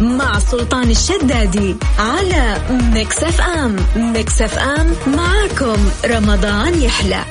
مع سلطان الشدادي على ميكس اف ام ميكس اف ام معاكم رمضان يحلى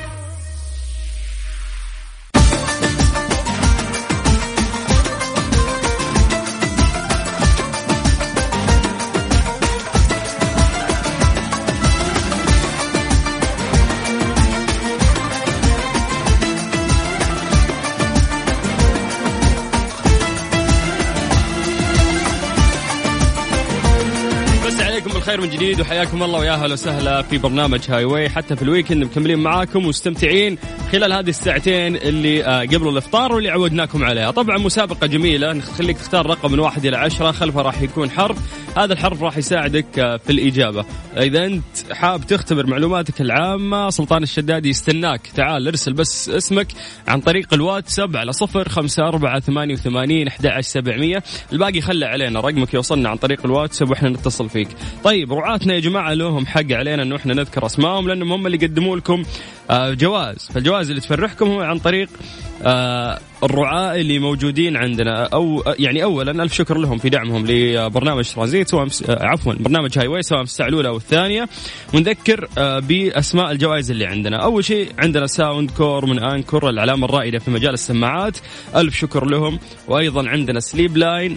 بس عليكم بالخير من جديد وحياكم الله ويا هلا وسهلا في برنامج هاي واي حتى في الويكند مكملين معاكم ومستمتعين خلال هذه الساعتين اللي آه، قبل الافطار واللي عودناكم عليها، طبعا مسابقه جميله نخليك تختار رقم من واحد الى عشره خلفه راح يكون حرف، هذا الحرف راح يساعدك آه، في الاجابه، اذا انت حاب تختبر معلوماتك العامه سلطان الشدادي يستناك، تعال ارسل بس اسمك عن طريق الواتساب على صفر خمسة أربعة ثمانية وثمانين أحد عشر سبعمية الباقي خلى علينا رقمك يوصلنا عن طريق الواتساب وإحنا نتصل فيك طيب رعاتنا يا جماعة لهم حق علينا أنه إحنا نذكر أسمائهم لأنهم هم اللي قدموا لكم آه، جوائز فالجوائز اللي تفرحكم هو عن طريق آه، الرعاة اللي موجودين عندنا او يعني اولا الف شكر لهم في دعمهم لبرنامج ترانزيت سواء مس- آه، عفوا برنامج هاي واي سواء في الساعه الاولى او الثانيه ونذكر آه، باسماء الجوائز اللي عندنا اول شيء عندنا ساوند كور من انكور العلامه الرائده في مجال السماعات الف شكر لهم وايضا عندنا سليب لاين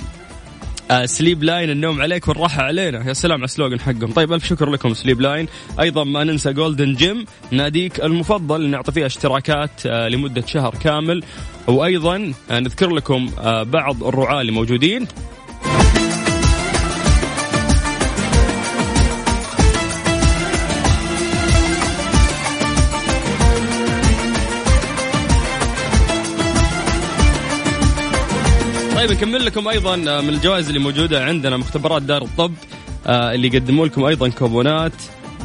آه، سليب لاين النوم عليك والراحة علينا يا سلام على السلوغن حقهم طيب ألف شكر لكم سليب لاين أيضا ما ننسى جولدن جيم ناديك المفضل اللي نعطي فيه اشتراكات آه، لمدة شهر كامل وأيضا آه، نذكر لكم آه، بعض الرعاة اللي موجودين طيب نكمل لكم ايضا من الجوائز اللي موجوده عندنا مختبرات دار الطب آه، اللي يقدموا لكم ايضا كوبونات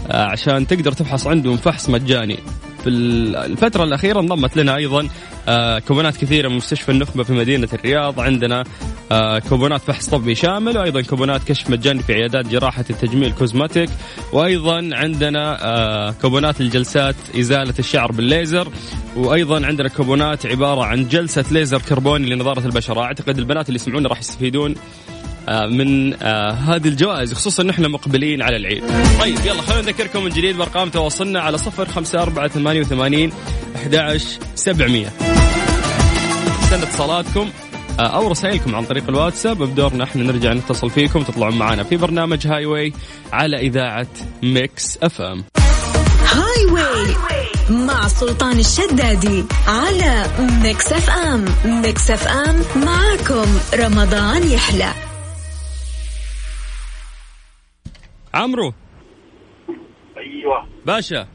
آه، عشان تقدر تفحص عندهم فحص مجاني في ال- الفترة الأخيرة انضمت لنا أيضا آه، كوبونات كثيرة من مستشفى النخبة في مدينة الرياض عندنا آه، كوبونات فحص طبي شامل وأيضا كوبونات كشف مجاني في عيادات جراحة التجميل كوزماتيك وأيضا عندنا آه، كوبونات الجلسات إزالة الشعر بالليزر وايضا عندنا كوبونات عباره عن جلسه ليزر كربوني لنضاره البشره اعتقد البنات اللي يسمعونا راح يستفيدون آه، من آه، هذه الجوائز خصوصا نحن مقبلين على العيد طيب يلا خلونا نذكركم من جديد بارقام تواصلنا على صفر خمسة أربعة ثمانية وثمانين أحد عشر سبعمية سنة اتصالاتكم آه، أو رسائلكم عن طريق الواتساب بدورنا احنا نرجع نتصل فيكم تطلعون معنا في برنامج هاي واي على إذاعة ميكس أف أم هاي واي مع سلطان الشدادي على ميكس اف ام ميكس اف ام معاكم رمضان يحلى عمرو ايوه باشا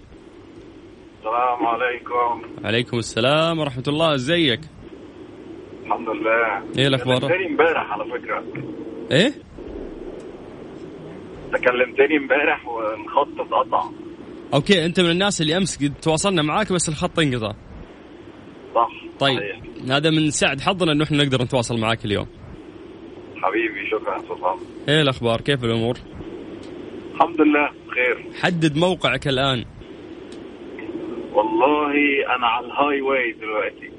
السلام عليكم عليكم السلام ورحمة الله ازيك؟ الحمد لله إيه الأخبار؟ كلمتني امبارح على فكره ايه؟ تكلمتني امبارح والخط اتقطع اوكي انت من الناس اللي امس قد تواصلنا معاك بس الخط انقطع. صح طيب صحيح. هذا من سعد حظنا انه احنا نقدر نتواصل معاك اليوم. حبيبي شكرا سلطان ايه الاخبار؟ كيف الامور؟ الحمد لله بخير حدد موقعك الان والله انا على الهاي واي دلوقتي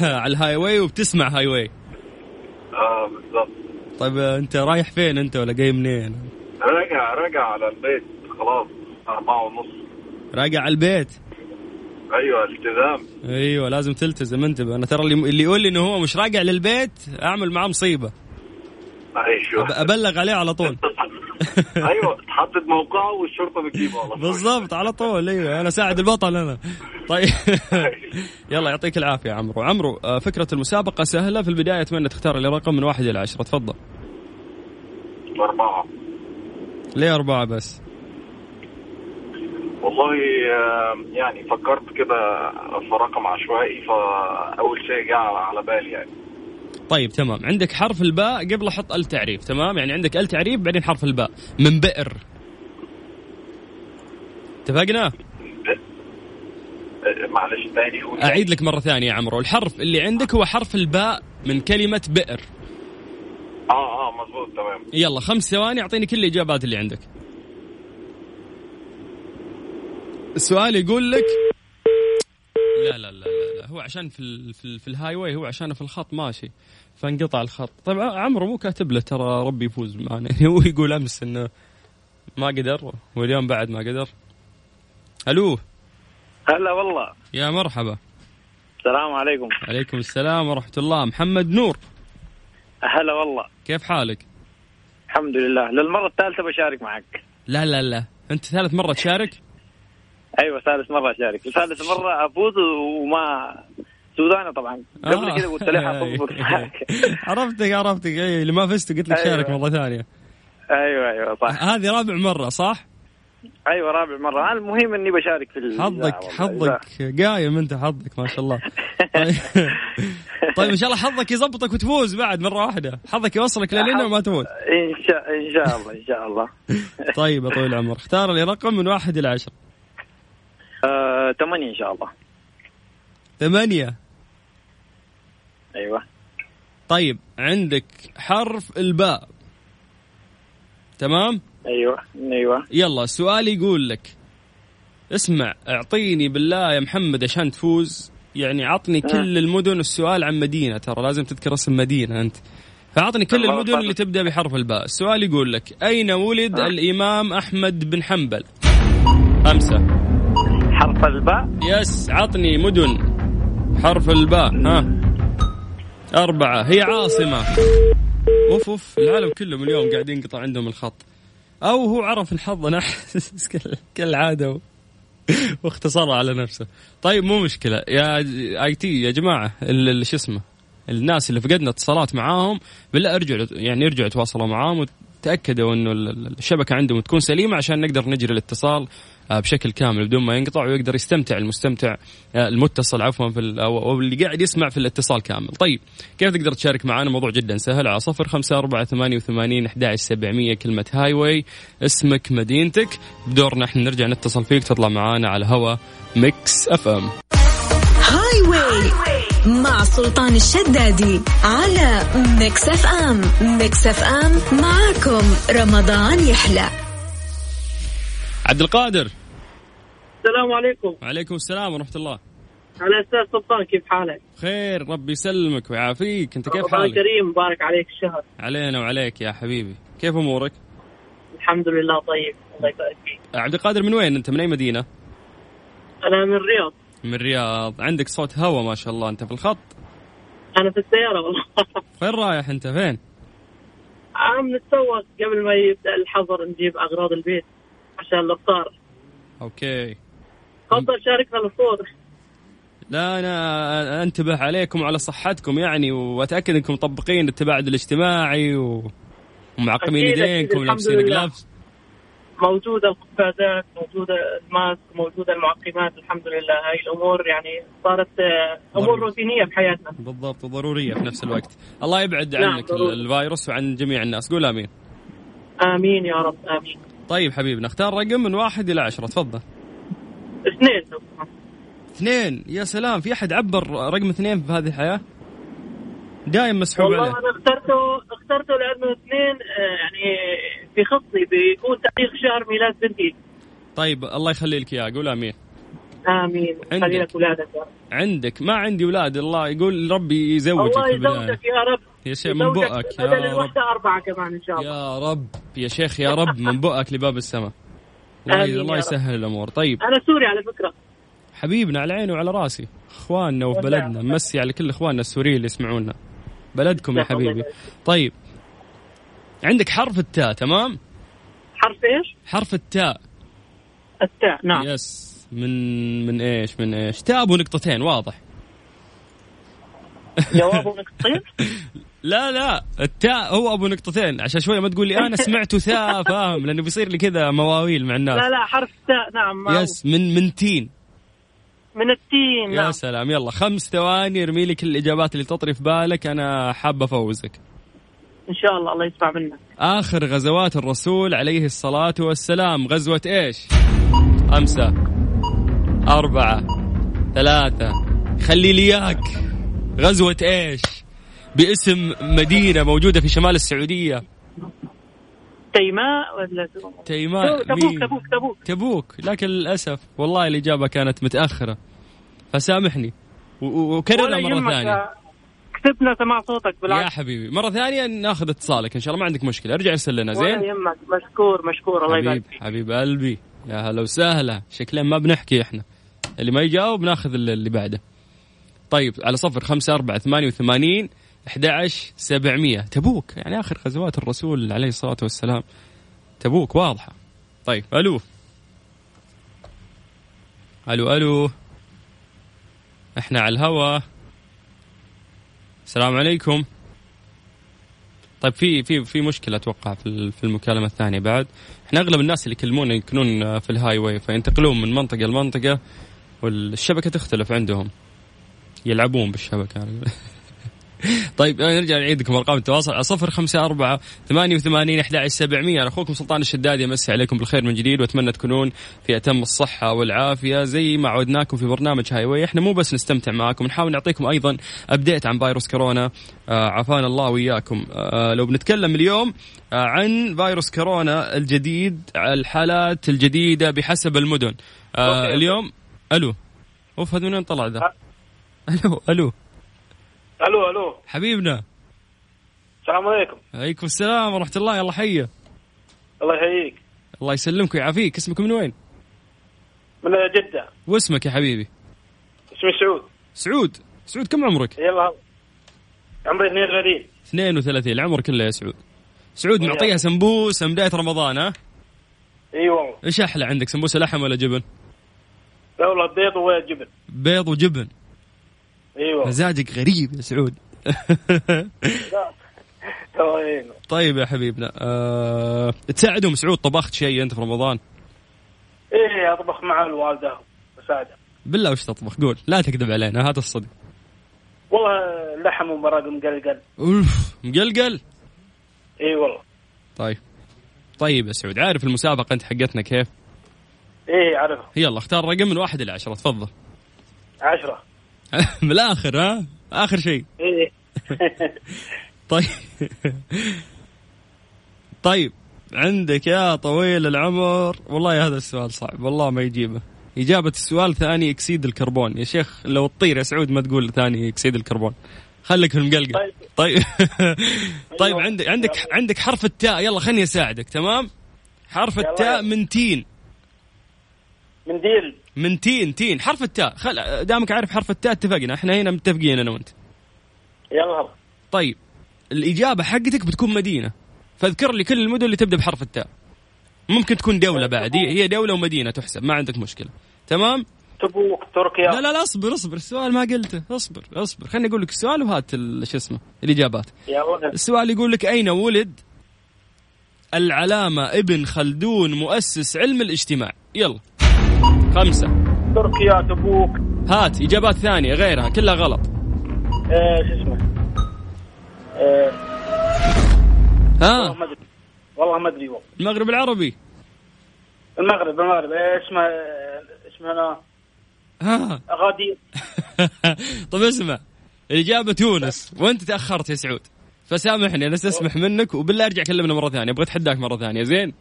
على الهاي واي وبتسمع هاي واي. اه بالظبط طيب آه، انت رايح فين انت ولا جاي منين؟ راجع راجع على البيت خلاص أربعة ونص راجع على البيت. أيوة التزام ايوه لازم تلتزم انتبه انا ترى اللي اللي يقول لي انه هو مش راجع للبيت اعمل معاه مصيبه أيوة أب- ابلغ عليه على طول أيوة تحدد موقعه والشرطة بتجيبه والله بالضبط على طول ايوه انا ساعد البطل انا طيب أيوة. يلا يعطيك العافيه عمرو عمرو آه، فكره المسابقه سهله في البدايه اتمنى تختار لي رقم من واحد الى عشره تفضل أربعة ليه اربعه بس والله آه، يعني فكرت كده في رقم عشوائي فأول شيء جاء على بالي يعني طيب تمام عندك حرف الباء قبل احط ال تعريف تمام يعني عندك ال تعريف بعدين حرف الباء من بئر اتفقنا آه، إيه؟ معلش تاني قول. اعيد لك مره ثانيه يا عمرو الحرف اللي عندك هو حرف الباء من كلمه بئر اه اه مظبوط تمام يلا خمس ثواني اعطيني كل الاجابات اللي عندك السؤال يقول لك لا لا لا لا, لا. هو عشان في ال في, ال في الهاي واي هو عشان في الخط ماشي فانقطع الخط طبعا عمرو مو كاتب له ترى ربي يفوز معنا يعني هو يقول امس انه ما قدر واليوم بعد ما قدر الو هلا والله يا مرحبا السلام عليكم عليكم السلام ورحمه الله محمد نور هلا والله كيف حالك الحمد لله للمرة الثالثة بشارك معك لا لا لا انت ثالث مره تشارك ايوه ثالث مرة اشارك ثالث مرة افوز وما سودانة طبعا قبل آه. كذا قلت لها حفوز معك عرفتك عرفتك اي اللي ما فزت قلت لك أيوة. شارك مره ثانيه ايوه ايوه صح هذه رابع مره صح ايوه رابع مرة أنا المهم اني بشارك في ال- حظك والله. حظك قايم انت حظك ما شاء الله طيب, طيب ان شاء الله حظك يزبطك وتفوز بعد مره واحده حظك يوصلك للين وما تموت ان شاء ان شاء الله ان شاء الله طيب يا طويل العمر اختار لي رقم من واحد الى عشرة آه، ثمانية ان شاء الله ثمانية ايوه طيب عندك حرف الباء تمام ايوه ايوه يلا السؤال يقول لك اسمع اعطيني بالله يا محمد عشان تفوز يعني عطني كل المدن السؤال عن مدينه ترى لازم تذكر اسم مدينه انت فاعطني كل الله المدن أكبر. اللي تبدا بحرف الباء السؤال يقول لك اين ولد الامام احمد بن حنبل خمسة حرف الباء يس عطني مدن حرف الباء ها أربعة هي عاصمة اوف اوف العالم كلهم اليوم قاعدين ينقطع عندهم الخط او هو عرف الحظ انا أحس كال- كالعاده و- واختصرها على نفسه طيب مو مشكله يا اي تي يا جماعه ال- ال- شو اسمه الناس اللي فقدنا اتصالات معاهم بالله ارجعوا يعني ارجعوا تواصلوا معاهم وتاكدوا انه ال- ال- الشبكه عندهم تكون سليمه عشان نقدر نجري الاتصال آه، بشكل كامل بدون ما ينقطع ويقدر يستمتع المستمتع آه، المتصل عفوا في ال- او أو اللي قاعد يسمع في الاتصال كامل طيب كيف تقدر تشارك معنا موضوع جدا سهل على صفر خمسة أربعة ثمانية وثمانين أحد سبعمية كلمة هاي واي اسمك مدينتك بدورنا احنا نرجع نتصل فيك تطلع معنا على هوا ميكس اف ام هاي واي مع سلطان الشدادي على ميكس اف ام ميكس اف ام معاكم رمضان يحلى عبد القادر السلام عليكم وعليكم السلام ورحمة الله انا استاذ سلطان كيف حالك؟ خير ربي يسلمك ويعافيك انت كيف رمضان حالك كريم مبارك عليك الشهر علينا وعليك يا حبيبي كيف امورك الحمد لله طيب الله يبارك فيك عبد القادر من وين انت من اي مدينة انا من الرياض من الرياض عندك صوت هوا ما شاء الله انت في الخط انا في السياره والله فين رايح انت فين عم نتسوق قبل ما يبدا الحظر نجيب اغراض البيت عشان الافطار اوكي تفضل شاركنا الصوت لا انا انتبه عليكم وعلى صحتكم يعني واتاكد انكم مطبقين التباعد الاجتماعي و... ومعقمين أكيد، أكيد، ايدينكم الحمد ولابسين لله. جلافز موجوده القفازات موجوده الماسك موجوده المعقمات الحمد لله هاي الامور يعني صارت آه، امور ضروري. روتينيه بحياتنا بالضبط وضروريه في نفس الوقت الله يبعد نعم، عنك ضروري. الفيروس وعن جميع الناس قول امين امين يا رب امين طيب حبيبنا اختار رقم من واحد الى عشرة تفضل اثنين لو سمحت. اثنين يا سلام في احد عبر رقم اثنين في هذه الحياه دايم مسحوب والله عليه انا اخترته اخترته لانه اثنين آه، يعني في خطي بيكون تاريخ شهر ميلاد بنتي طيب الله يخلي لك اياه قول امين امين عندك. خلي لك اولادك يا رب عندك ما عندي اولاد الله يقول ربي يزوجك الله في البداية. يزوجك يا رب يا شيخ من يزوجك بؤك يا بدل رب. الوحده اربعه كمان ان شاء الله يا رب يا شيخ يا رب من بؤك لباب السماء الله, آمين يا الله رب. يسهل الامور طيب انا سوري على فكره حبيبنا على عيني وعلى راسي اخواننا وفي والله. بلدنا نمسي على كل اخواننا السوريين اللي يسمعونا بلدكم يا الله حبيبي يبارك. طيب عندك حرف التاء تمام حرف ايش؟ حرف التاء التاء نعم يس من من ايش من ايش تاب ونقطتين واضح جوابه نقطتين لا لا التاء هو ابو نقطتين عشان شويه ما تقول لي انا سمعت ثاء فاهم لانه بيصير لي كذا مواويل مع الناس لا لا حرف تاء نعم ما هو. يس من من تين من التين يا نعم سلام يلا خمس ثواني ارمي لي كل الاجابات اللي تطري في بالك انا حاب افوزك ان شاء الله الله يسمع منا اخر غزوات الرسول عليه الصلاه والسلام غزوه ايش خمسه اربعه ثلاثه خلي لي اياك غزوه ايش باسم مدينه موجوده في شمال السعوديه تيماء ولا شو؟ تيماء تبوك مين؟ تبوك تبوك تبوك لكن للاسف والله الاجابه كانت متاخره فسامحني و- و- وكررها ولا مره يهمك ثانيه يا- كسبنا سماع صوتك يا بالعكس حبيبي مرة ثانية ناخذ اتصالك إن شاء الله ما عندك مشكلة ارجع ارسل لنا ولا زين يهمك مشكور مشكور الله يبارك حبيب فيك حبيب قلبي يا هلا وسهلا شكلين ما بنحكي احنا اللي ما يجاوب ناخذ اللي اللي بعده طيب على صفر خمسة أربعة ثمانية وثمانين أحد عشر سبعمية تبوك يعني آخر غزوات الرسول عليه الصلاة والسلام تبوك واضحة طيب ألو ألو ألو احنا على الهوا السلام عليكم طيب في في في مشكله اتوقع في ال- في المكالمه الثانيه بعد احنا اغلب الناس اللي يكلمونا يكونون في الهاي واي فينتقلون من منطقه لمنطقه والشبكه تختلف عندهم يلعبون بالشبكه طيب نرجع نعيدكم ارقام التواصل على صفر خمسة أربعة ثمانية وثمانين أحد سبعمية أخوكم سلطان الشدادي أمسي عليكم بالخير من جديد وأتمنى تكونون في أتم الصحة والعافية زي ما عودناكم في برنامج هاي واي إحنا مو بس نستمتع معاكم نحاول نعطيكم أيضا أبديت عن فيروس كورونا آه عافانا الله وإياكم آه لو بنتكلم اليوم آه عن فيروس كورونا الجديد الحالات الجديدة بحسب المدن آه أوكي. آه. اليوم ألو أوف هذا من وين طلع ذا ألو ألو الو الو حبيبنا السلام عليكم عليكم السلام ورحمة الله يلا حيا الله يحييك الله يسلمك ويعافيك اسمك من وين من جده واسمك يا حبيبي اسمي سعود سعود سعود كم عمرك يلا هلا عمري 32 32 العمر كله يا سعود سعود نعطيها سمبوسة من بداية رمضان ها اي والله ايش احلى عندك سمبوسة لحم ولا جبن لا والله بيض وجبن بيض وجبن اي والله مزاجك غريب يا سعود الله يعينه طيب يا حبيبنا أه... تساعدهم سعود طبخت شيء انت في رمضان ايه اطبخ مع الوالده وساعده بالله وش تطبخ قول لا تكذب علينا هذا الصدق والله لحم ومرق مقلقل اوف مقلقل اي والله طيب طيب يا سعود عارف المسابقة انت حقتنا كيف ايه عارفها يلا اختار رقم من واحد إلى عشرة تفضل عشرة من الاخر ها اخر شيء ايه طيب طيب عندك يا طويل العمر والله هذا السؤال صعب والله ما يجيبه إجابة السؤال ثاني أكسيد الكربون يا شيخ لو تطير يا سعود ما تقول ثاني أكسيد الكربون خليك في المقلقة طيب. طيب طيب أيوة. عندك عندك عندك حرف التاء يلا خليني أساعدك تمام حرف يلا. التاء من تين منديل من تين تين حرف التاء خل دامك عارف حرف التاء اتفقنا احنا هنا متفقين أنا وأنت يلا هلا طيب الإجابة حقتك بتكون مدينة فاذكر لي كل المدن اللي تبدأ بحرف التاء ممكن تكون دولة بعد هي هي دولة ومدينة تحسب ما عندك مشكلة تمام تبوك تركيا لا لا لا اصبر اصبر السؤال ما قلته اصبر اصبر خليني اقول لك السؤال وهات ال- شو اسمه الاجابات يلا السؤال يقول لك اين ولد العلامة ابن خلدون مؤسس علم الاجتماع يلا خمسة تركيا تبوك هات اجابات ثانية غيرها كلها غلط آه، شو اسمه آه، والله ها ما ادري والله ما ادري والله المغرب العربي المغرب المغرب آه، اسمه آه، اسمه انا ها اغادير طب طيب اسمع الإجابة تونس وأنت تأخرت يا سعود فسامحني أنا أستسمح منك وبالله أرجع كلمنا مرة ثانية أبغى أتحداك مرة ثانية زين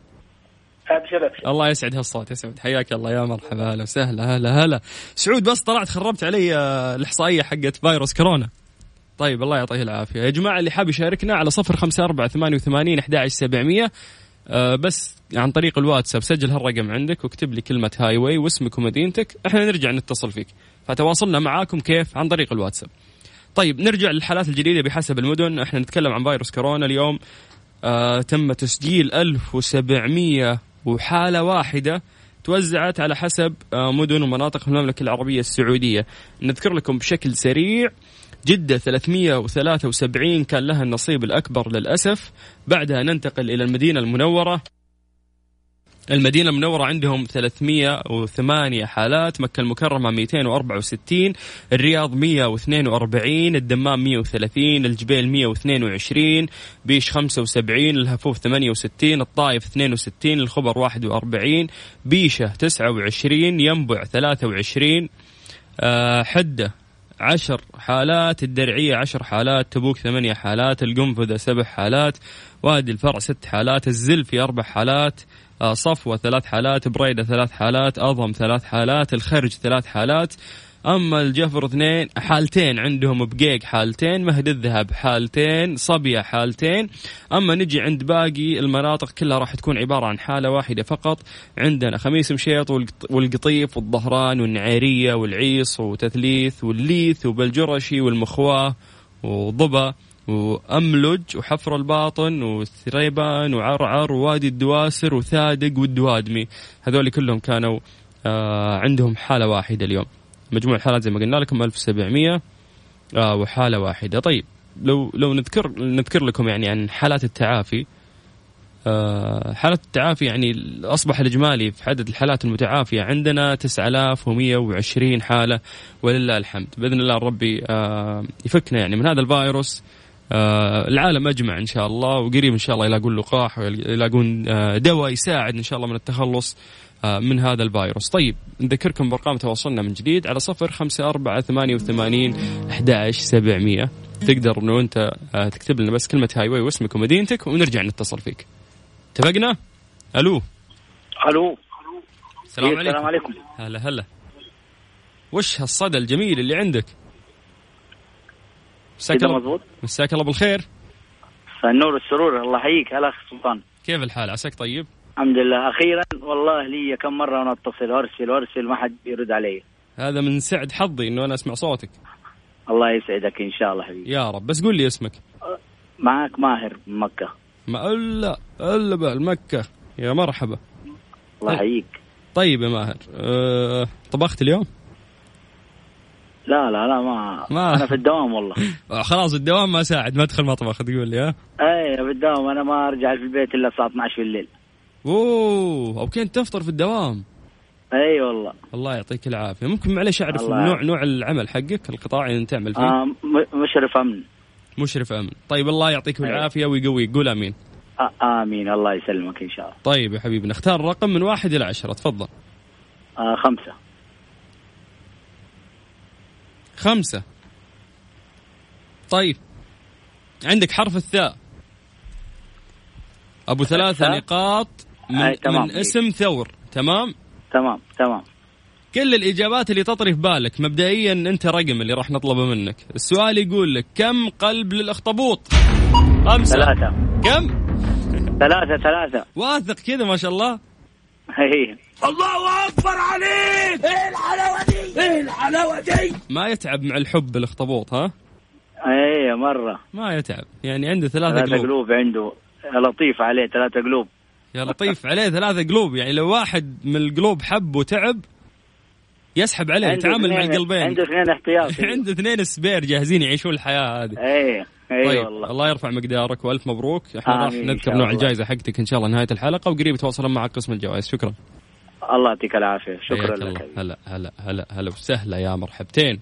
ابشر ابشر الله يسعد هالصوت يا سعود حياك الله يا مرحبا هلا وسهلا هلا هلا سعود بس طلعت خربت علي آه، الإحصائية حقت فيروس كورونا طيب الله يعطيه العافية يا جماعة اللي حاب يشاركنا على صفر خمسة أربعة ثمانية وثمانين أحد سبعمية آه، بس عن طريق الواتساب سجل هالرقم عندك واكتب لي كلمة هاي واي واسمك ومدينتك احنا نرجع نتصل فيك فتواصلنا معاكم كيف عن طريق الواتساب طيب نرجع للحالات الجديدة بحسب المدن احنا نتكلم عن فيروس كورونا اليوم آه تم تسجيل 1700 وحالة واحدة توزعت على حسب آه مدن ومناطق في المملكة العربية السعودية نذكر لكم بشكل سريع جدة 373 كان لها النصيب الأكبر للأسف بعدها ننتقل إلى المدينة المنورة المدينة المنورة عندهم 308 حالات مكة المكرمة 264 الرياض 142 الدمام 130 الجبيل 122 بيش 75 الهفوف 68 الطائف 62 الخبر 41 بيشة 29 ينبع 23 آه، حدة عشر حالات الدرعية عشر حالات تبوك ثمانية حالات القنفذة سبع حالات وادي الفرع ست حالات الزلفي أربع حالات آه، صفوة ثلاث حالات بريدة ثلاث حالات أضم ثلاث حالات الخرج ثلاث حالات اما الجفر اثنين حالتين عندهم بقيق حالتين مهد الذهب حالتين صبيه حالتين اما نجي عند باقي المناطق كلها راح تكون عباره عن حاله واحده فقط عندنا خميس مشيط والقط- والقطيف والظهران والنعيريه والعيص وتثليث والليث وبلجرشي والمخواه وضبا وأملج وحفر الباطن وثريبان وعرعر ووادي الدواسر وثادق والدوادمي هذول كلهم كانوا آه عندهم حالة واحدة اليوم مجموع الحالات زي ما قلنا لكم 1700 آه وحالة واحدة طيب لو لو نذكر نذكر لكم يعني عن حالات التعافي آه حالات التعافي يعني أصبح الإجمالي في عدد الحالات المتعافية عندنا 9120 حالة ولله الحمد باذن الله ربي آه، يفكنا يعني من هذا الفيروس آه، العالم اجمع ان شاء الله وقريب ان شاء الله يلاقون لقاح ويلاقون آه، دواء يساعد ان شاء الله من التخلص آه، من هذا الفيروس طيب نذكركم بارقام تواصلنا من جديد على صفر خمسة أربعة ثمانية وثمانين أحداش سبعمية تقدر انه انت آه، تكتب لنا بس كلمة هاي واي واسمك ومدينتك ونرجع نتصل فيك اتفقنا؟ الو الو السلام إيه، عليكم السلام عليكم هلا هلا وش هالصدى الجميل اللي عندك؟ مساك كده الله مظبوط مساك الله بالخير فالنور السرور الله يحييك هلا اخ سلطان كيف الحال عساك طيب؟ الحمد لله اخيرا والله لي كم مره وانا اتصل وارسل وارسل ما حد يرد علي هذا من سعد حظي انه انا اسمع صوتك الله يسعدك ان شاء الله حبيبي يا رب بس قول لي اسمك معك ماهر من مكه ما الا الا بالمكة يا مرحبا إيه. الله يحييك طيب يا ماهر أه طبخت اليوم؟ لا لا لا ما, ما- ما. انا في الدوام والله آه، خلاص الدوام ما ساعد ما ادخل مطبخ تقول لي ها؟ اي إيه، في الدوام انا ما ارجع في البيت الا الساعه 12 بالليل اوه اوكي تفطر في الدوام اي إيه، والله الله يعطيك العافية ممكن معلش اعرف الله نوع نوع العمل حقك القطاع اللي انت تعمل فيه؟ آه م- مشرف امن مشرف امن طيب الله يعطيكم أيوة. العافيه ويقويك قول امين آه امين الله يسلمك ان شاء الله طيب يا حبيبي نختار رقم من واحد الى عشرة تفضل آه خمسه خمسة طيب عندك حرف الثاء ابو ثلاثة الثاء؟ نقاط من, أي، تمام. من اسم ثور تمام تمام تمام كل الاجابات اللي تطري في بالك مبدئيا انت رقم اللي راح نطلبه منك السؤال يقول لك كم قلب للاخطبوط خمسة ثلاثه كم ثلاثه ثلاثه واثق كذا ما شاء الله هي ما يتعب مع الحب الاخطبوط ها اي مره ما يتعب يعني عنده ثلاثة ثلاثه قلوب إيه، قلوب عنده لطيف عليه ثلاثه قلوب يا لطيف عليه ثلاثة قلوب يعني لو واحد من القلوب حب وتعب يسحب عليه عنده يتعامل مع اثنين- القلبين عنده اثنين احتياطي عنده اثنين سبير جاهزين يعيشون الحياة هذه اي اي طيب إيه أيوة والله الله يرفع مقدارك والف مبروك احنا راح آمين، إن نذكر شاء نوع الله. الجائزة حقتك ان شاء الله نهاية الحلقة وقريب يتواصلون معك قسم الجوائز شكرا الله يعطيك العافيه شكرا حياك لك الله حبيبي. هلا هلا هلا هلا وسهلا يا مرحبتين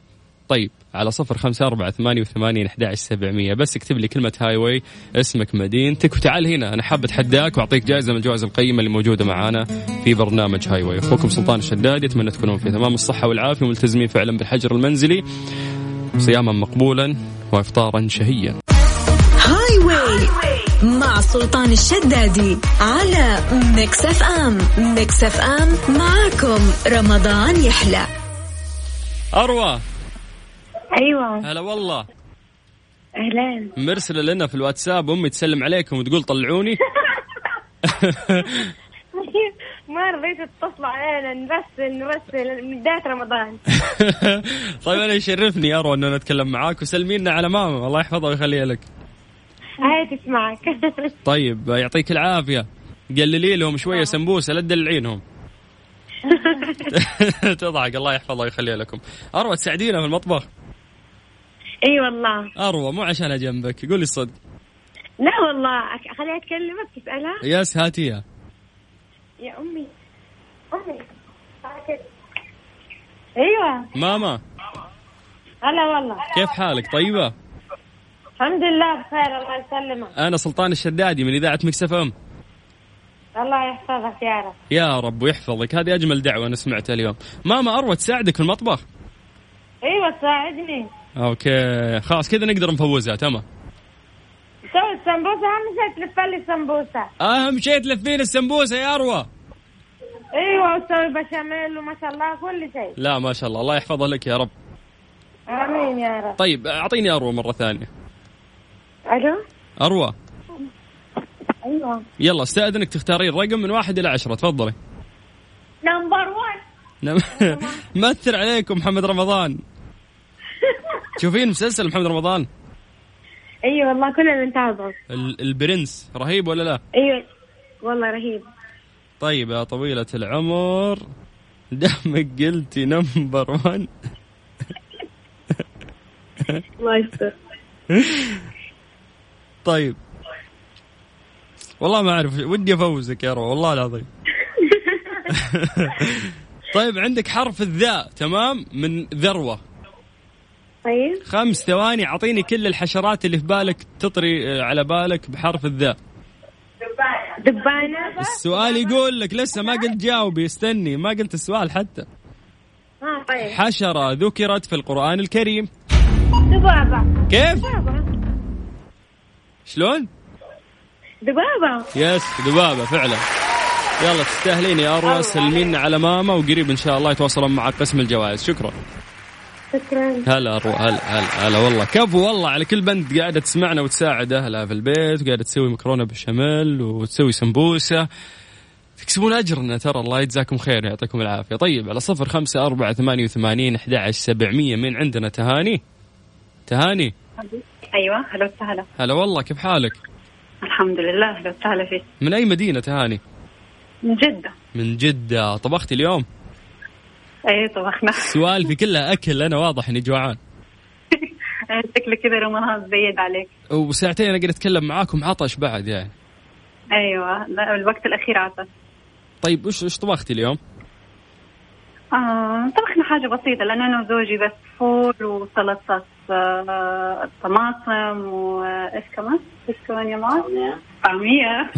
طيب على صفر خمسة أربعة ثمانية وثمانين أحد سبعمية بس اكتب لي كلمة هاي واي اسمك مدينتك وتعال هنا أنا حاب أتحداك وأعطيك جائزة من الجوائز القيمة اللي موجودة معانا في برنامج هاي واي أخوكم سلطان الشدادي أتمنى تكونون في تمام الصحة والعافية وملتزمين فعلا بالحجر المنزلي صياما مقبولا وإفطارا شهيا هاي واي مع سلطان الشدادي على ميكس اف ام ميكس اف ام معاكم رمضان يحلى أروى ايوه هلا والله اهلين مرسلة لنا في الواتساب أمي تسلم عليكم وتقول طلعوني ما رضيت اتصل علينا نرسل نرسل من بدايه رمضان طيب انا يشرفني يا اروى ان انا اتكلم معاك وسلمينا على ماما الله يحفظها ويخليها لك هاي تسمعك طيب يعطيك العافيه قللي لهم شويه سمبوسه لا تدلعينهم تضحك الله يحفظها ويخليها لكم اروى تساعدينا في المطبخ اي والله اروى مو عشان اجنبك قولي الصدق لا والله أك- خليها اكلمك تسالها يس هاتيها يا امي امي تعال كده. ايوه ماما هلا والله كيف حالك طيبه الحمد لله بخير الله يسلمك انا سلطان الشدادي من اذاعه مكسف ام الله يحفظك يا رب يا رب ويحفظك هذه اجمل دعوه انا سمعتها اليوم ماما اروى تساعدك في المطبخ ايوه تساعدني اوكي خلاص كذا نقدر نفوزها تمام سوي السمبوسه اهم شيء تلف لي السمبوسه اهم شيء تلفين السمبوسه يا اروى ايوه وتسوي بشاميل وما شاء الله كل شيء لا ما شاء الله الله يحفظها لك يا رب امين يا رب طيب اعطيني اروى مره ثانيه الو اروى ايوه يلا استاذنك تختارين رقم من واحد الى عشره تفضلي نمبر 1 نعم. مثل عليكم محمد رمضان شوفين مسلسل محمد رمضان اي أيوة والله كلنا نتابعه ال- البرنس رهيب ولا لا ايوه والله رهيب طيب يا طويلة العمر دامك قلتي نمبر 1 الله يستر طيب والله ما اعرف ودي افوزك يا رو والله العظيم طيب عندك حرف الذاء تمام من ذروه طيب خمس ثواني اعطيني كل الحشرات اللي في بالك تطري آه، على بالك بحرف الذاء دبانة السؤال يقول لك لسه ما قلت جاوبي استني ما قلت السؤال حتى اه طيب حشره ذكرت في القران الكريم دبابة كيف دبابة شلون دبابة يس ذبابه فعلا يلا تستاهلين يا اروى سلمين على ماما وقريب ان شاء الله يتواصلون معك قسم الجوائز شكرا شكرا هلا اروى هلا هلا هلا والله كفو والله على كل بنت قاعده تسمعنا وتساعد اهلها في البيت وقاعده تسوي مكرونه بشاميل وتسوي سمبوسه تكسبون اجرنا ترى الله يجزاكم خير يعطيكم العافيه طيب على صفر خمسة أربعة ثمانية وثمانين أحد عشر سبعمية من عندنا تهاني تهاني ايوه هلا وسهلا هلا والله كيف حالك الحمد لله هلا وسهلا فيك من أي مدينة تهاني من جدة من جدة طبختي اليوم اي طبخنا سوالفي كلها اكل انا واضح اني جوعان إيه، شكلك كذا رمضان زيد عليك وساعتين اقدر اتكلم معاكم عطش بعد يعني ايوه لا الوقت الاخير عسل طيب وش وش طبختي اليوم؟ آه طبخنا حاجة بسيطة لأن أنا وزوجي بس فول وسلطة آه، طماطم وإيش كمان؟ إيش كمان يا معاذ؟ طعمية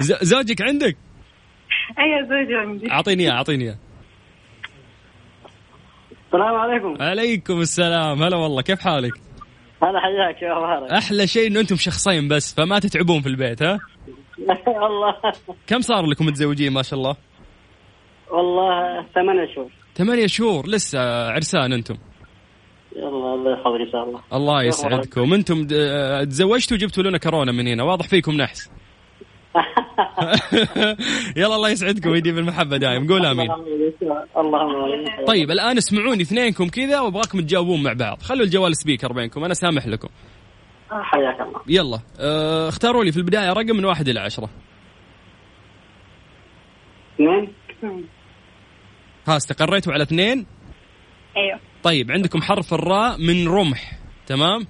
ز- زوجك عندك؟ أي زوجي عندي اعطيني اياه اعطيني اياه السلام عليكم عليكم السلام هلا والله كيف حالك؟ هلا حياك يا مبارك احلى شيء انه انتم شخصين بس فما تتعبون في البيت ها؟ والله كم صار لكم متزوجين ما شاء الله؟ والله ثمان شهور ثمانية شهور لسه عرسان انتم يلا الله يحفظك ان شاء الله الله يسعدكم انتم د- آه، تزوجتوا وجبتوا لنا كورونا من هنا واضح فيكم نحس يلا الله يسعدكم ويديم المحبة دايم قول امين اللهم امين طيب الان اسمعوني اثنينكم كذا وابغاكم تجاوبون مع بعض خلوا الجوال سبيكر بينكم انا سامح لكم حياك الله يلا اه اختاروا لي في البدايه رقم من واحد الى عشره نعم. اثنين ها استقريتوا على اثنين أيوه طيب عندكم حرف الراء من رمح تمام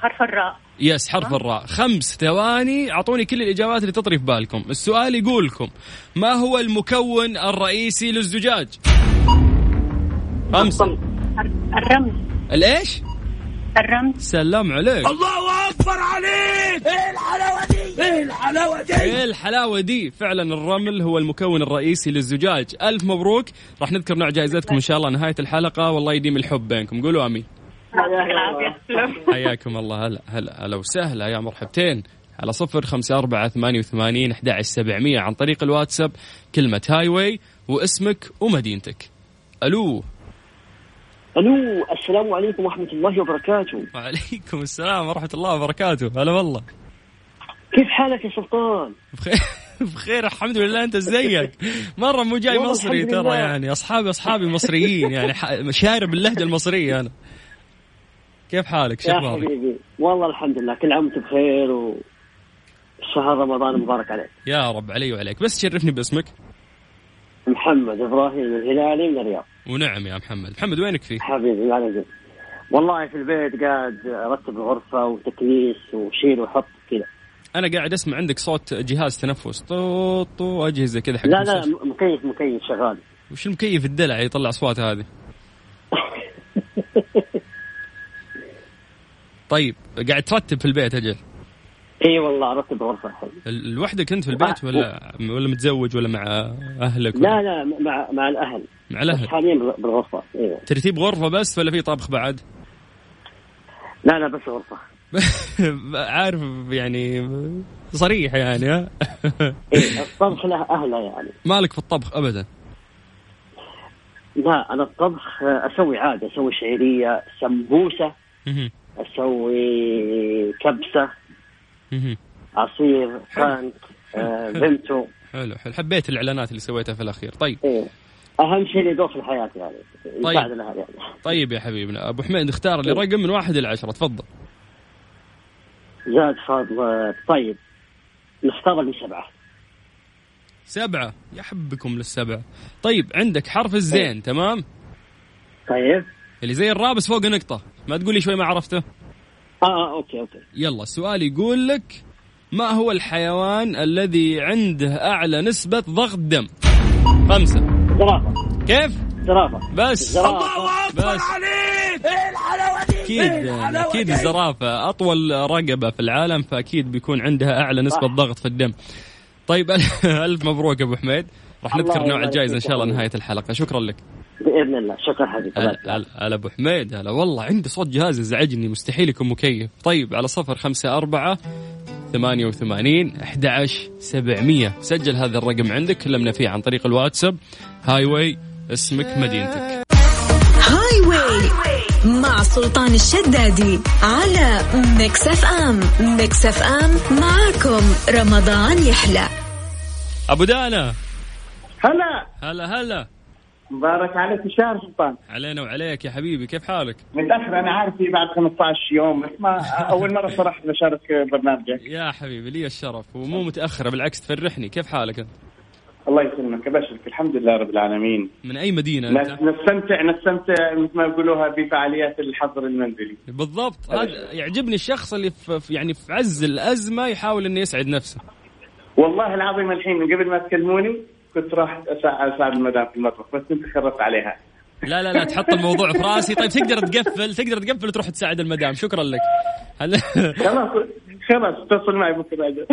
حرف الراء يس حرف الراء خمس ثواني اعطوني كل الاجابات اللي تطري في بالكم السؤال يقول لكم ما هو المكون الرئيسي للزجاج خمسه الر- الرمز الايش الرمز سلام عليك الله اكبر عليك ايه الحلاوه دي ايه الحلاوه دي ايه الحلاوه دي فعلا الرمل هو المكون الرئيسي للزجاج الف مبروك راح نذكر نوع جائزتكم ان شاء الله نهايه الحلقه والله يديم الحب بينكم قولوا امين يعطيك العافية تسلم. حياكم الله هلا هلا هلا وسهلا يا مرحبتين على صفر خمسة أربعة ثمانية وثمانين أحد عشر سبعمية عن طريق الواتساب كلمة هاي واي واسمك ومدينتك ألو الو السلام عليكم ورحمه الله وبركاته وعليكم السلام ورحمة الله وبركاته هلا والله كيف حالك يا سلطان بخير بخير الحمد لله انت ازيك مره مو جاي والله مصري الحمد ترى لله. يعني اصحابي اصحابي مصريين يعني ح- شارب اللهجه المصريه انا كيف حالك شو يا اخبارك حبيبي والله الحمد لله كل عام وانت بخير و شهر رمضان مبارك عليك يا رب علي وعليك بس شرفني باسمك محمد ابراهيم الهلالي من الرياض ونعم يا محمد محمد وينك فيه حبيبي ما عليك والله في البيت قاعد ارتب الغرفه وتكنيس وشيل وحط كذا انا قاعد اسمع عندك صوت جهاز تنفس طو طو اجهزه كذا حق لا لا المستشفى. م- مكيف مكيف شغال وش المكيف الدلع يطلع اصوات هذه طيب قاعد ترتب في البيت اجل اي والله ارتب الغرفه الحين ال- لوحدك انت في البيت ولا ولا متزوج ولا مع اهلك ولا آه، لا لا مع مع الاهل مع الاهل بس حاليا بال- بالغرفه ايوه ترتيب غرفه بس ولا في طبخ بعد؟ لا لا بس غرفه عارف يعني صريح يعني ها؟ إيه الطبخ له اهله يعني مالك في الطبخ ابدا لا انا الطبخ آه، اسوي عادي اسوي شعيريه سمبوسه مهم. اسوي كبسه مهم. عصير كانت بنتو حلو حلو حبيت الاعلانات اللي سويتها في الاخير طيب ايه اهم شيء اللي يدور في الحياه يعني يساعد الاهل يعني طيب يا حبيبنا ابو حميد اختار لي رقم من واحد الى عشره تفضل زاد فاضل طيب نختار اللي سبعه سبعه يا حبكم للسبعه طيب عندك حرف الزين تمام طيب اللي زي الرابس فوق نقطه ما تقولي شوي ما عرفته اه اوكي اوكي يلا السؤال يقول لك ما هو الحيوان الذي عنده اعلى نسبه ضغط دم خمسه زرافه كيف زرافه بس زرافه بس إيه اكيد اكيد الزرافه اطول رقبه في العالم فاكيد بيكون عندها اعلى نسبه صح. ضغط في الدم طيب الف مبروك ابو حميد راح الله نذكر نوع يبارك الجائزه ان فيك شاء الله يا نهايه الحلقه شكرا لك باذن الله شكرا حبيبي الله هلا يسلمك. هلا- هلا ابو حميد هلا والله عندي صوت جهاز يزعجني مستحيل يكون مكيف طيب على صفر خمسة أربعة ثمانية وثمانين أحد سبعمية سجل هذا الرقم عندك كلمنا فيه عن طريق الواتساب هاي واي اسمك مدينتك هاي واي مع سلطان الشدادي على ميكس اف ام ميكس اف ام معاكم رمضان يحلى أبو دانا هلا هلا هلا مبارك عليك الشهر سلطان علينا وعليك يا حبيبي كيف حالك متاخر انا عارف إيه بعد 15 يوم بس ما اول مره صراحه بشارك برنامجك يا حبيبي لي الشرف ومو متأخرة بالعكس تفرحني كيف حالك أنت الله يسلمك ابشرك الحمد لله رب العالمين من أي مدينة نعم. نس- أنت نستمتع نستمتع مثل ما يقولوها بفعاليات الحظر المنزلي بالضبط هذا يعجبني الشخص اللي في في- يعني في عز الأزمة يحاول إنه يسعد نفسه والله العظيم الحين من قبل ما تكلموني كنت راح أسا- اساعد المدام في المطبخ بس انت خربت عليها لا لا لا تحط الموضوع في راسي طيب تقدر تقفل تقدر تقفل وتروح تساعد المدام شكرا لك هلا خلاص خلاص اتصل معي بكره أجل.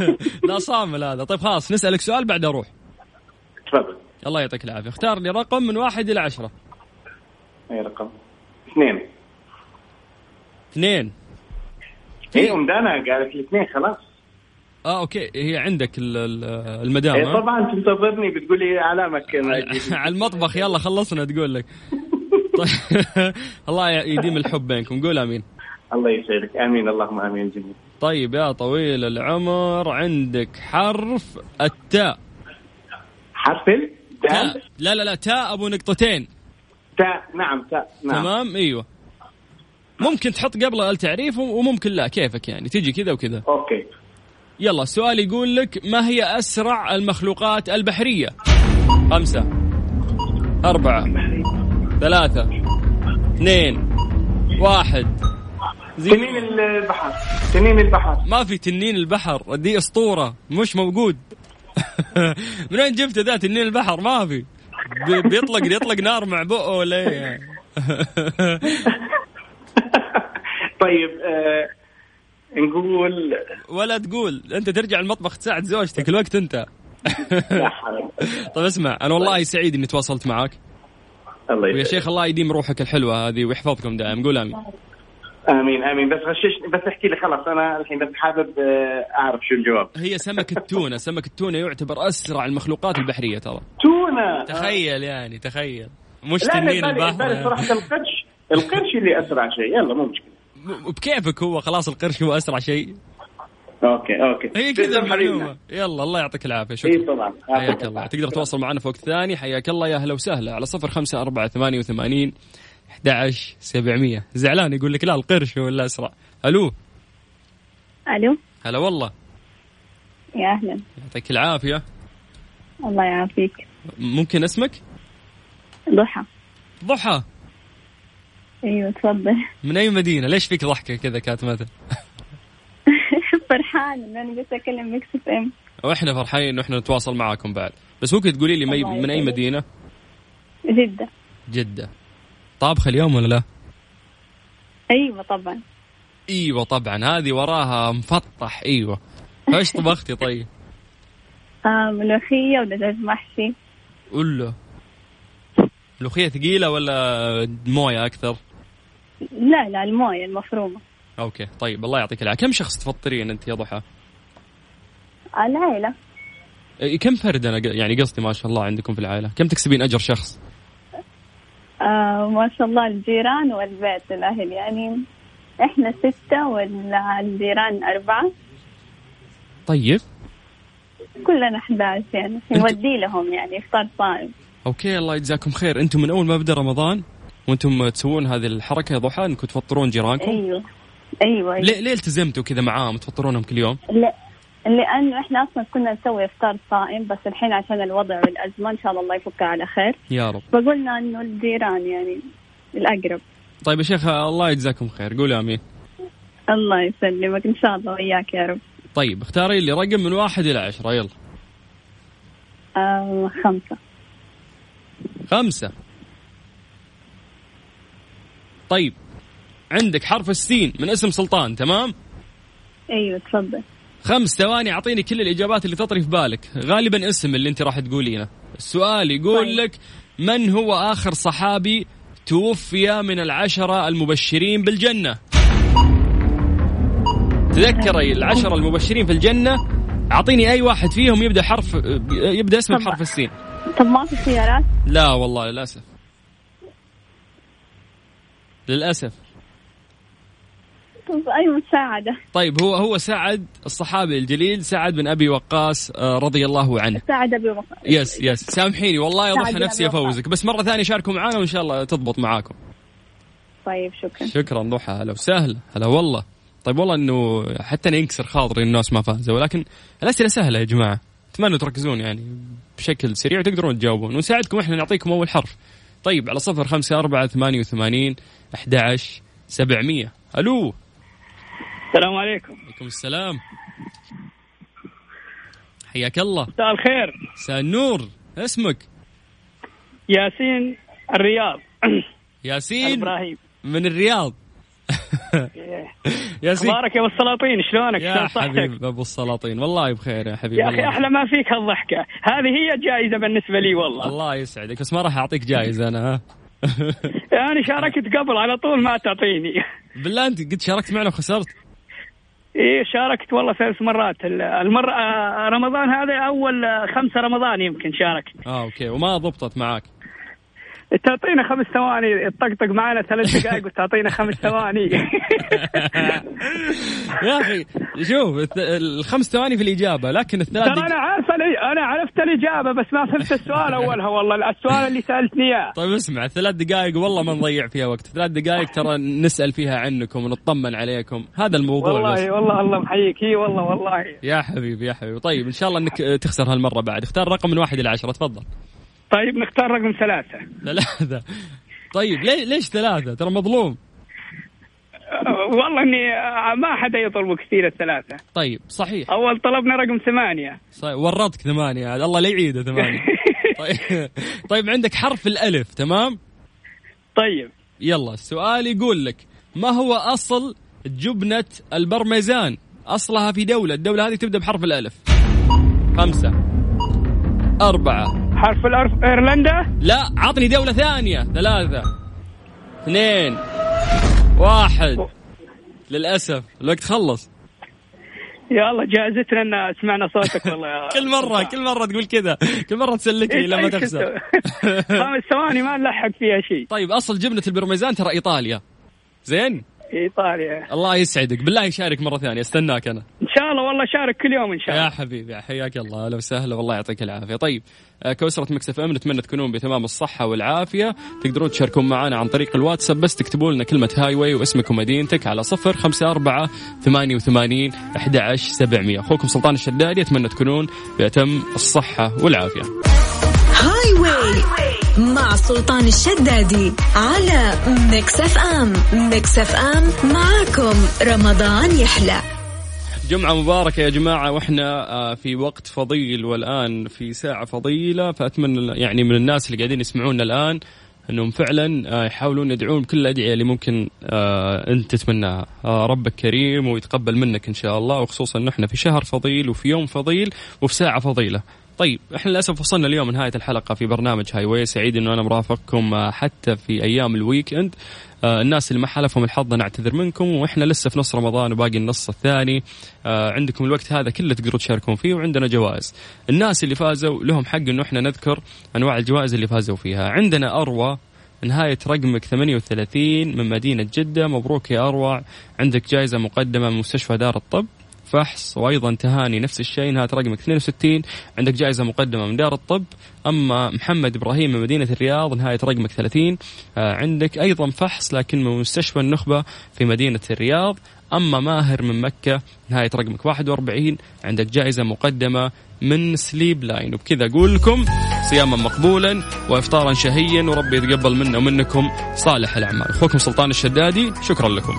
لا صامل هذا طيب خلاص نسألك سؤال بعد أروح تفضل الله يعطيك العافية اختار لي رقم من واحد إلى عشرة اي رقم اثنين اثنين اي ام دانا إيه، قالت لي اثنين خلاص اه اوكي هي عندك ال- ال- المدام إيه ها؟ طبعا تنتظرني بتقول لي علامك على المطبخ يلا خلصنا تقول لك طيب الله يديم الحب بينكم قول امين الله يسعدك امين اللهم امين جميل طيب يا طويل العمر عندك حرف التاء حفل تاء دال لا لا لا تاء ابو نقطتين تاء نعم تاء نعم تمام ايوه ممكن تحط قبله التعريف وممكن لا كيفك يعني تجي كذا وكذا اوكي يلا السؤال يقول لك ما هي اسرع المخلوقات البحريه خمسة أربعة ثلاثة اثنين واحد تنين زيرو البحر تنين البحر ما في تنين البحر دي اسطوره مش موجود من وين جبت ذا تنين البحر ما في بي- بيطلق يطلق نار مع بقه ولا إيه يعني؟ طيب آه نقول ولا تقول انت ترجع المطبخ تساعد زوجتك الوقت انت لا حرام. طيب اسمع انا والله سعيد اني تواصلت معك الله ويا يسعدك شيخ الله يديم روحك الحلوه هذه ويحفظكم دائم قول امين امين امين بس غششني بس احكي لي خلاص انا الحين بس حابب آه، اعرف شو الجواب هي سمك التونه سمك التونه يعتبر اسرع المخلوقات البحريه ترى تونه تخيل يعني تخيل مش لا لا تنين بالي- بالي البحر صراحه القرش القرش اللي اسرع شيء يلا مو مشكله ب- بكيفك هو خلاص القرش هو اسرع شيء اوكي اوكي هي كذا تسلم حبيبنا. المعلومه يلا الله يعطيك العافيه اي شكرا طبعا حياك الله تقدر تواصل معنا في وقت ثاني حياك الله يا هلا وسهلا على صفر خمسة أربعة ثمانية وثمانين 11 700 زعلان يقول لك لا القرش هو اللي اسرع الو الو هلا والله يا اهلا يعطيك العافيه الله يعافيك ممكن اسمك ضحى ضحى ايوه تفضل من اي مدينه ليش فيك ضحكه كذا كاتمته فرحانه ان انا بس اكلم ميكس اف ام واحنا فرحانين انه احنا نتواصل معاكم بعد بس ممكن تقولي لي مي... الله من اي يسعدك. مدينه جده جده طابخه اليوم ولا لا ايوه طبعا ايوه طبعا هذه وراها مفطح ايوه ايش طبختي طيب آه ملوخيه ودجاج محشي قول له ملوخيه ثقيله ولا مويه اكثر لا لا المويه المفرومه اوكي طيب الله يعطيك العافيه كم شخص تفطرين انت يا ضحى العائلة إيه، كم فرد انا ق- يعني قصدي ما شاء الله عندكم في العائله كم تكسبين اجر شخص آه ما شاء الله الجيران والبيت الأهل يعني إحنا ستة والجيران أربعة طيب كلنا 11 يعني نودي لهم يعني إفطار صائم اوكي الله يجزاكم خير انتم من اول ما بدا رمضان وانتم تسوون هذه الحركه يا ضحى انكم تفطرون جيرانكم أيوه أيوه, أيوه. ليه ليه التزمتوا كذا معاهم تفطرونهم كل يوم لا لانه احنا اصلا كنا نسوي افطار صائم بس الحين عشان الوضع والازمه ان شاء الله يفكها على خير يا رب فقلنا انه الجيران يعني الاقرب طيب يا شيخ الله يجزاكم خير قول امين الله يسلمك ان شاء الله وياك يا رب طيب اختاري لي رقم من واحد الى عشرة يلا آه خمسه خمسة طيب عندك حرف السين من اسم سلطان تمام ايوه تفضل خمس ثواني اعطيني كل الاجابات اللي تطري في بالك غالبا اسم اللي انت راح تقولينه السؤال يقول طيب. لك من هو اخر صحابي توفي من العشرة المبشرين بالجنة تذكري العشرة المبشرين في الجنة اعطيني اي واحد فيهم يبدا حرف يبدا اسمه طب- بحرف السين طب ما في خيارات لا والله للاسف للاسف طب أيوة، اي مساعده طيب هو هو سعد الصحابي الجليل سعد بن ابي وقاص آه، رضي الله عنه مساعده بمقر يس يس سامحيني والله سعد يضحى بن نفسي أبي وقاص. افوزك بس مره ثانيه شاركوا معانا وان شاء الله تضبط معاكم طيب شكرا شكرا ضحى هلا وسهلا هلا والله طيب والله انه حتى ينكسر خاطري الناس ما فازوا ولكن الاسئله سهله يا جماعه اتمنى تركزون يعني بشكل سريع وتقدرون تجاوبون ونساعدكم احنا نعطيكم اول حرف طيب على صفر خمسة أربعة ثمانية وثمانين أحد عشر سبعمية ألو السلام عليكم عليكم السلام حياك الله مساء الخير مساء النور اسمك ياسين الرياض ياسين ابراهيم من الرياض ياسين اخبارك يا ابو إيه. السلاطين شلونك؟ يا شلون صحتك؟ حبيب ابو السلاطين والله بخير يا حبيبي يا اخي الله- احلى ما فيك هالضحكه، هذه هي الجائزه بالنسبه لي والله. الله يسعدك بس ما راح اعطيك جائزه انا ها انا شاركت قبل على طول ما تعطيني. بالله انت قد شاركت معنا وخسرت ايه شاركت والله ثلاث مرات، ال- المره آه، رمضان هذا اول آه، خمسه رمضان يمكن شاركت. اه اوكي وما ضبطت معاك تعطينا خمس ثواني تطقطق معنا ثلاث دقائق وتعطينا خمس ثواني. يا اخي شوف الث- الخمس ثواني في الاجابه لكن الثلاث ترى دقائق انا عارف انا عرفت الاجابه بس ما فهمت السؤال اولها والله السؤال اللي سالتني اياه. طيب اسمع ثلاث دقائق والله ما نضيع فيها وقت ثلاث دقائق ترى نسأل فيها عنكم ونطمن عليكم هذا الموضوع بس والله والله الله محييك اي والله والله. يا حبيبي يا حبيبي طيب ان شاء الله انك آه، تخسر هالمره بعد اختار رقم من واحد الى عشره تفضل طيب نختار رقم ثلاثه. ثلاثه طيب ليه ليش ثلاثه ترى مظلوم أه، والله اني أه، ما حدا يطلب كثير الثلاثه طيب صحيح اول طلبنا رقم ثمانيه صحيح. ورطك ثمانيه عاد الله لا يعيده ثمانيه طيب طيب عندك حرف الالف تمام طيب يلا السؤال يقول لك ما هو اصل جبنه البرميزان اصلها في دوله الدوله هذه تبدا بحرف الالف خمسه اربعه حرف الارف ايرلندا لا عطني دوله ثانيه ثلاثه اثنين واحد للاسف الوقت خلص يا الله جائزتنا ان سمعنا صوتك والله يا كل مره كل مره تقول كذا كل مره تسلكني إيش- لما إيش تخسر كنت- خمس ثواني ما نلحق فيها شيء طيب اصل جبنه البرميزان ترى ايطاليا زين ايطاليا الله يسعدك بالله شارك مره ثانيه استناك انا ان شاء الله والله شارك كل يوم ان شاء يا الله حبيبي حياك الله اهلا وسهلا والله يعطيك العافيه طيب آه، كأسرة مكسف ام نتمنى تكونون بتمام الصحه والعافيه تقدرون تشاركون معنا عن طريق الواتساب بس تكتبوا لنا كلمه هاي واي واسمك ومدينتك على صفر خمسة أربعة ثمانية وثمانين أحد عشر سبعمية أخوكم سلطان الشدادي أتمنى تكونون بأتم الصحة والعافية هاي واي مع سلطان الشدادي على ميكس اف ام ميكس اف ام معاكم رمضان يحلى جمعة مباركة يا جماعة واحنا آه، في وقت فضيل والآن في ساعة فضيلة فأتمنى يعني من الناس اللي قاعدين يسمعونا الآن أنهم فعلا آه، يحاولون يدعون بكل الأدعية اللي ممكن آه، أنت تتمناها آه، ربك كريم ويتقبل منك إن شاء الله وخصوصا نحن في شهر فضيل وفي يوم فضيل وفي ساعة فضيلة طيب احنا للاسف وصلنا اليوم نهايه الحلقه في برنامج هاي واي سعيد انه انا مرافقكم آه، حتى في ايام الويك اند آه، الناس اللي ما حلفهم الحظ انا اعتذر منكم واحنا لسه في نص رمضان وباقي النص الثاني آه، عندكم الوقت هذا كله تقدروا تشاركون فيه وعندنا جوائز الناس اللي فازوا لهم حق انه احنا نذكر انواع الجوائز اللي فازوا فيها عندنا اروى نهاية رقمك 38 من مدينة جدة مبروك يا أروع عندك جائزة مقدمة من مستشفى دار الطب فحص وايضا تهاني نفس الشيء نهايه رقمك 62 عندك جائزه مقدمه من دار الطب اما محمد ابراهيم من مدينه الرياض نهايه رقمك 30 آه، عندك ايضا فحص لكن من مستشفى النخبه في مدينه الرياض اما ماهر من مكه نهايه رقمك 41 عندك جائزه مقدمه من سليب لاين وبكذا اقول لكم صياما مقبولا وافطارا شهيا وربي يتقبل منا ومنكم صالح الاعمال اخوكم سلطان الشدادي شكرا لكم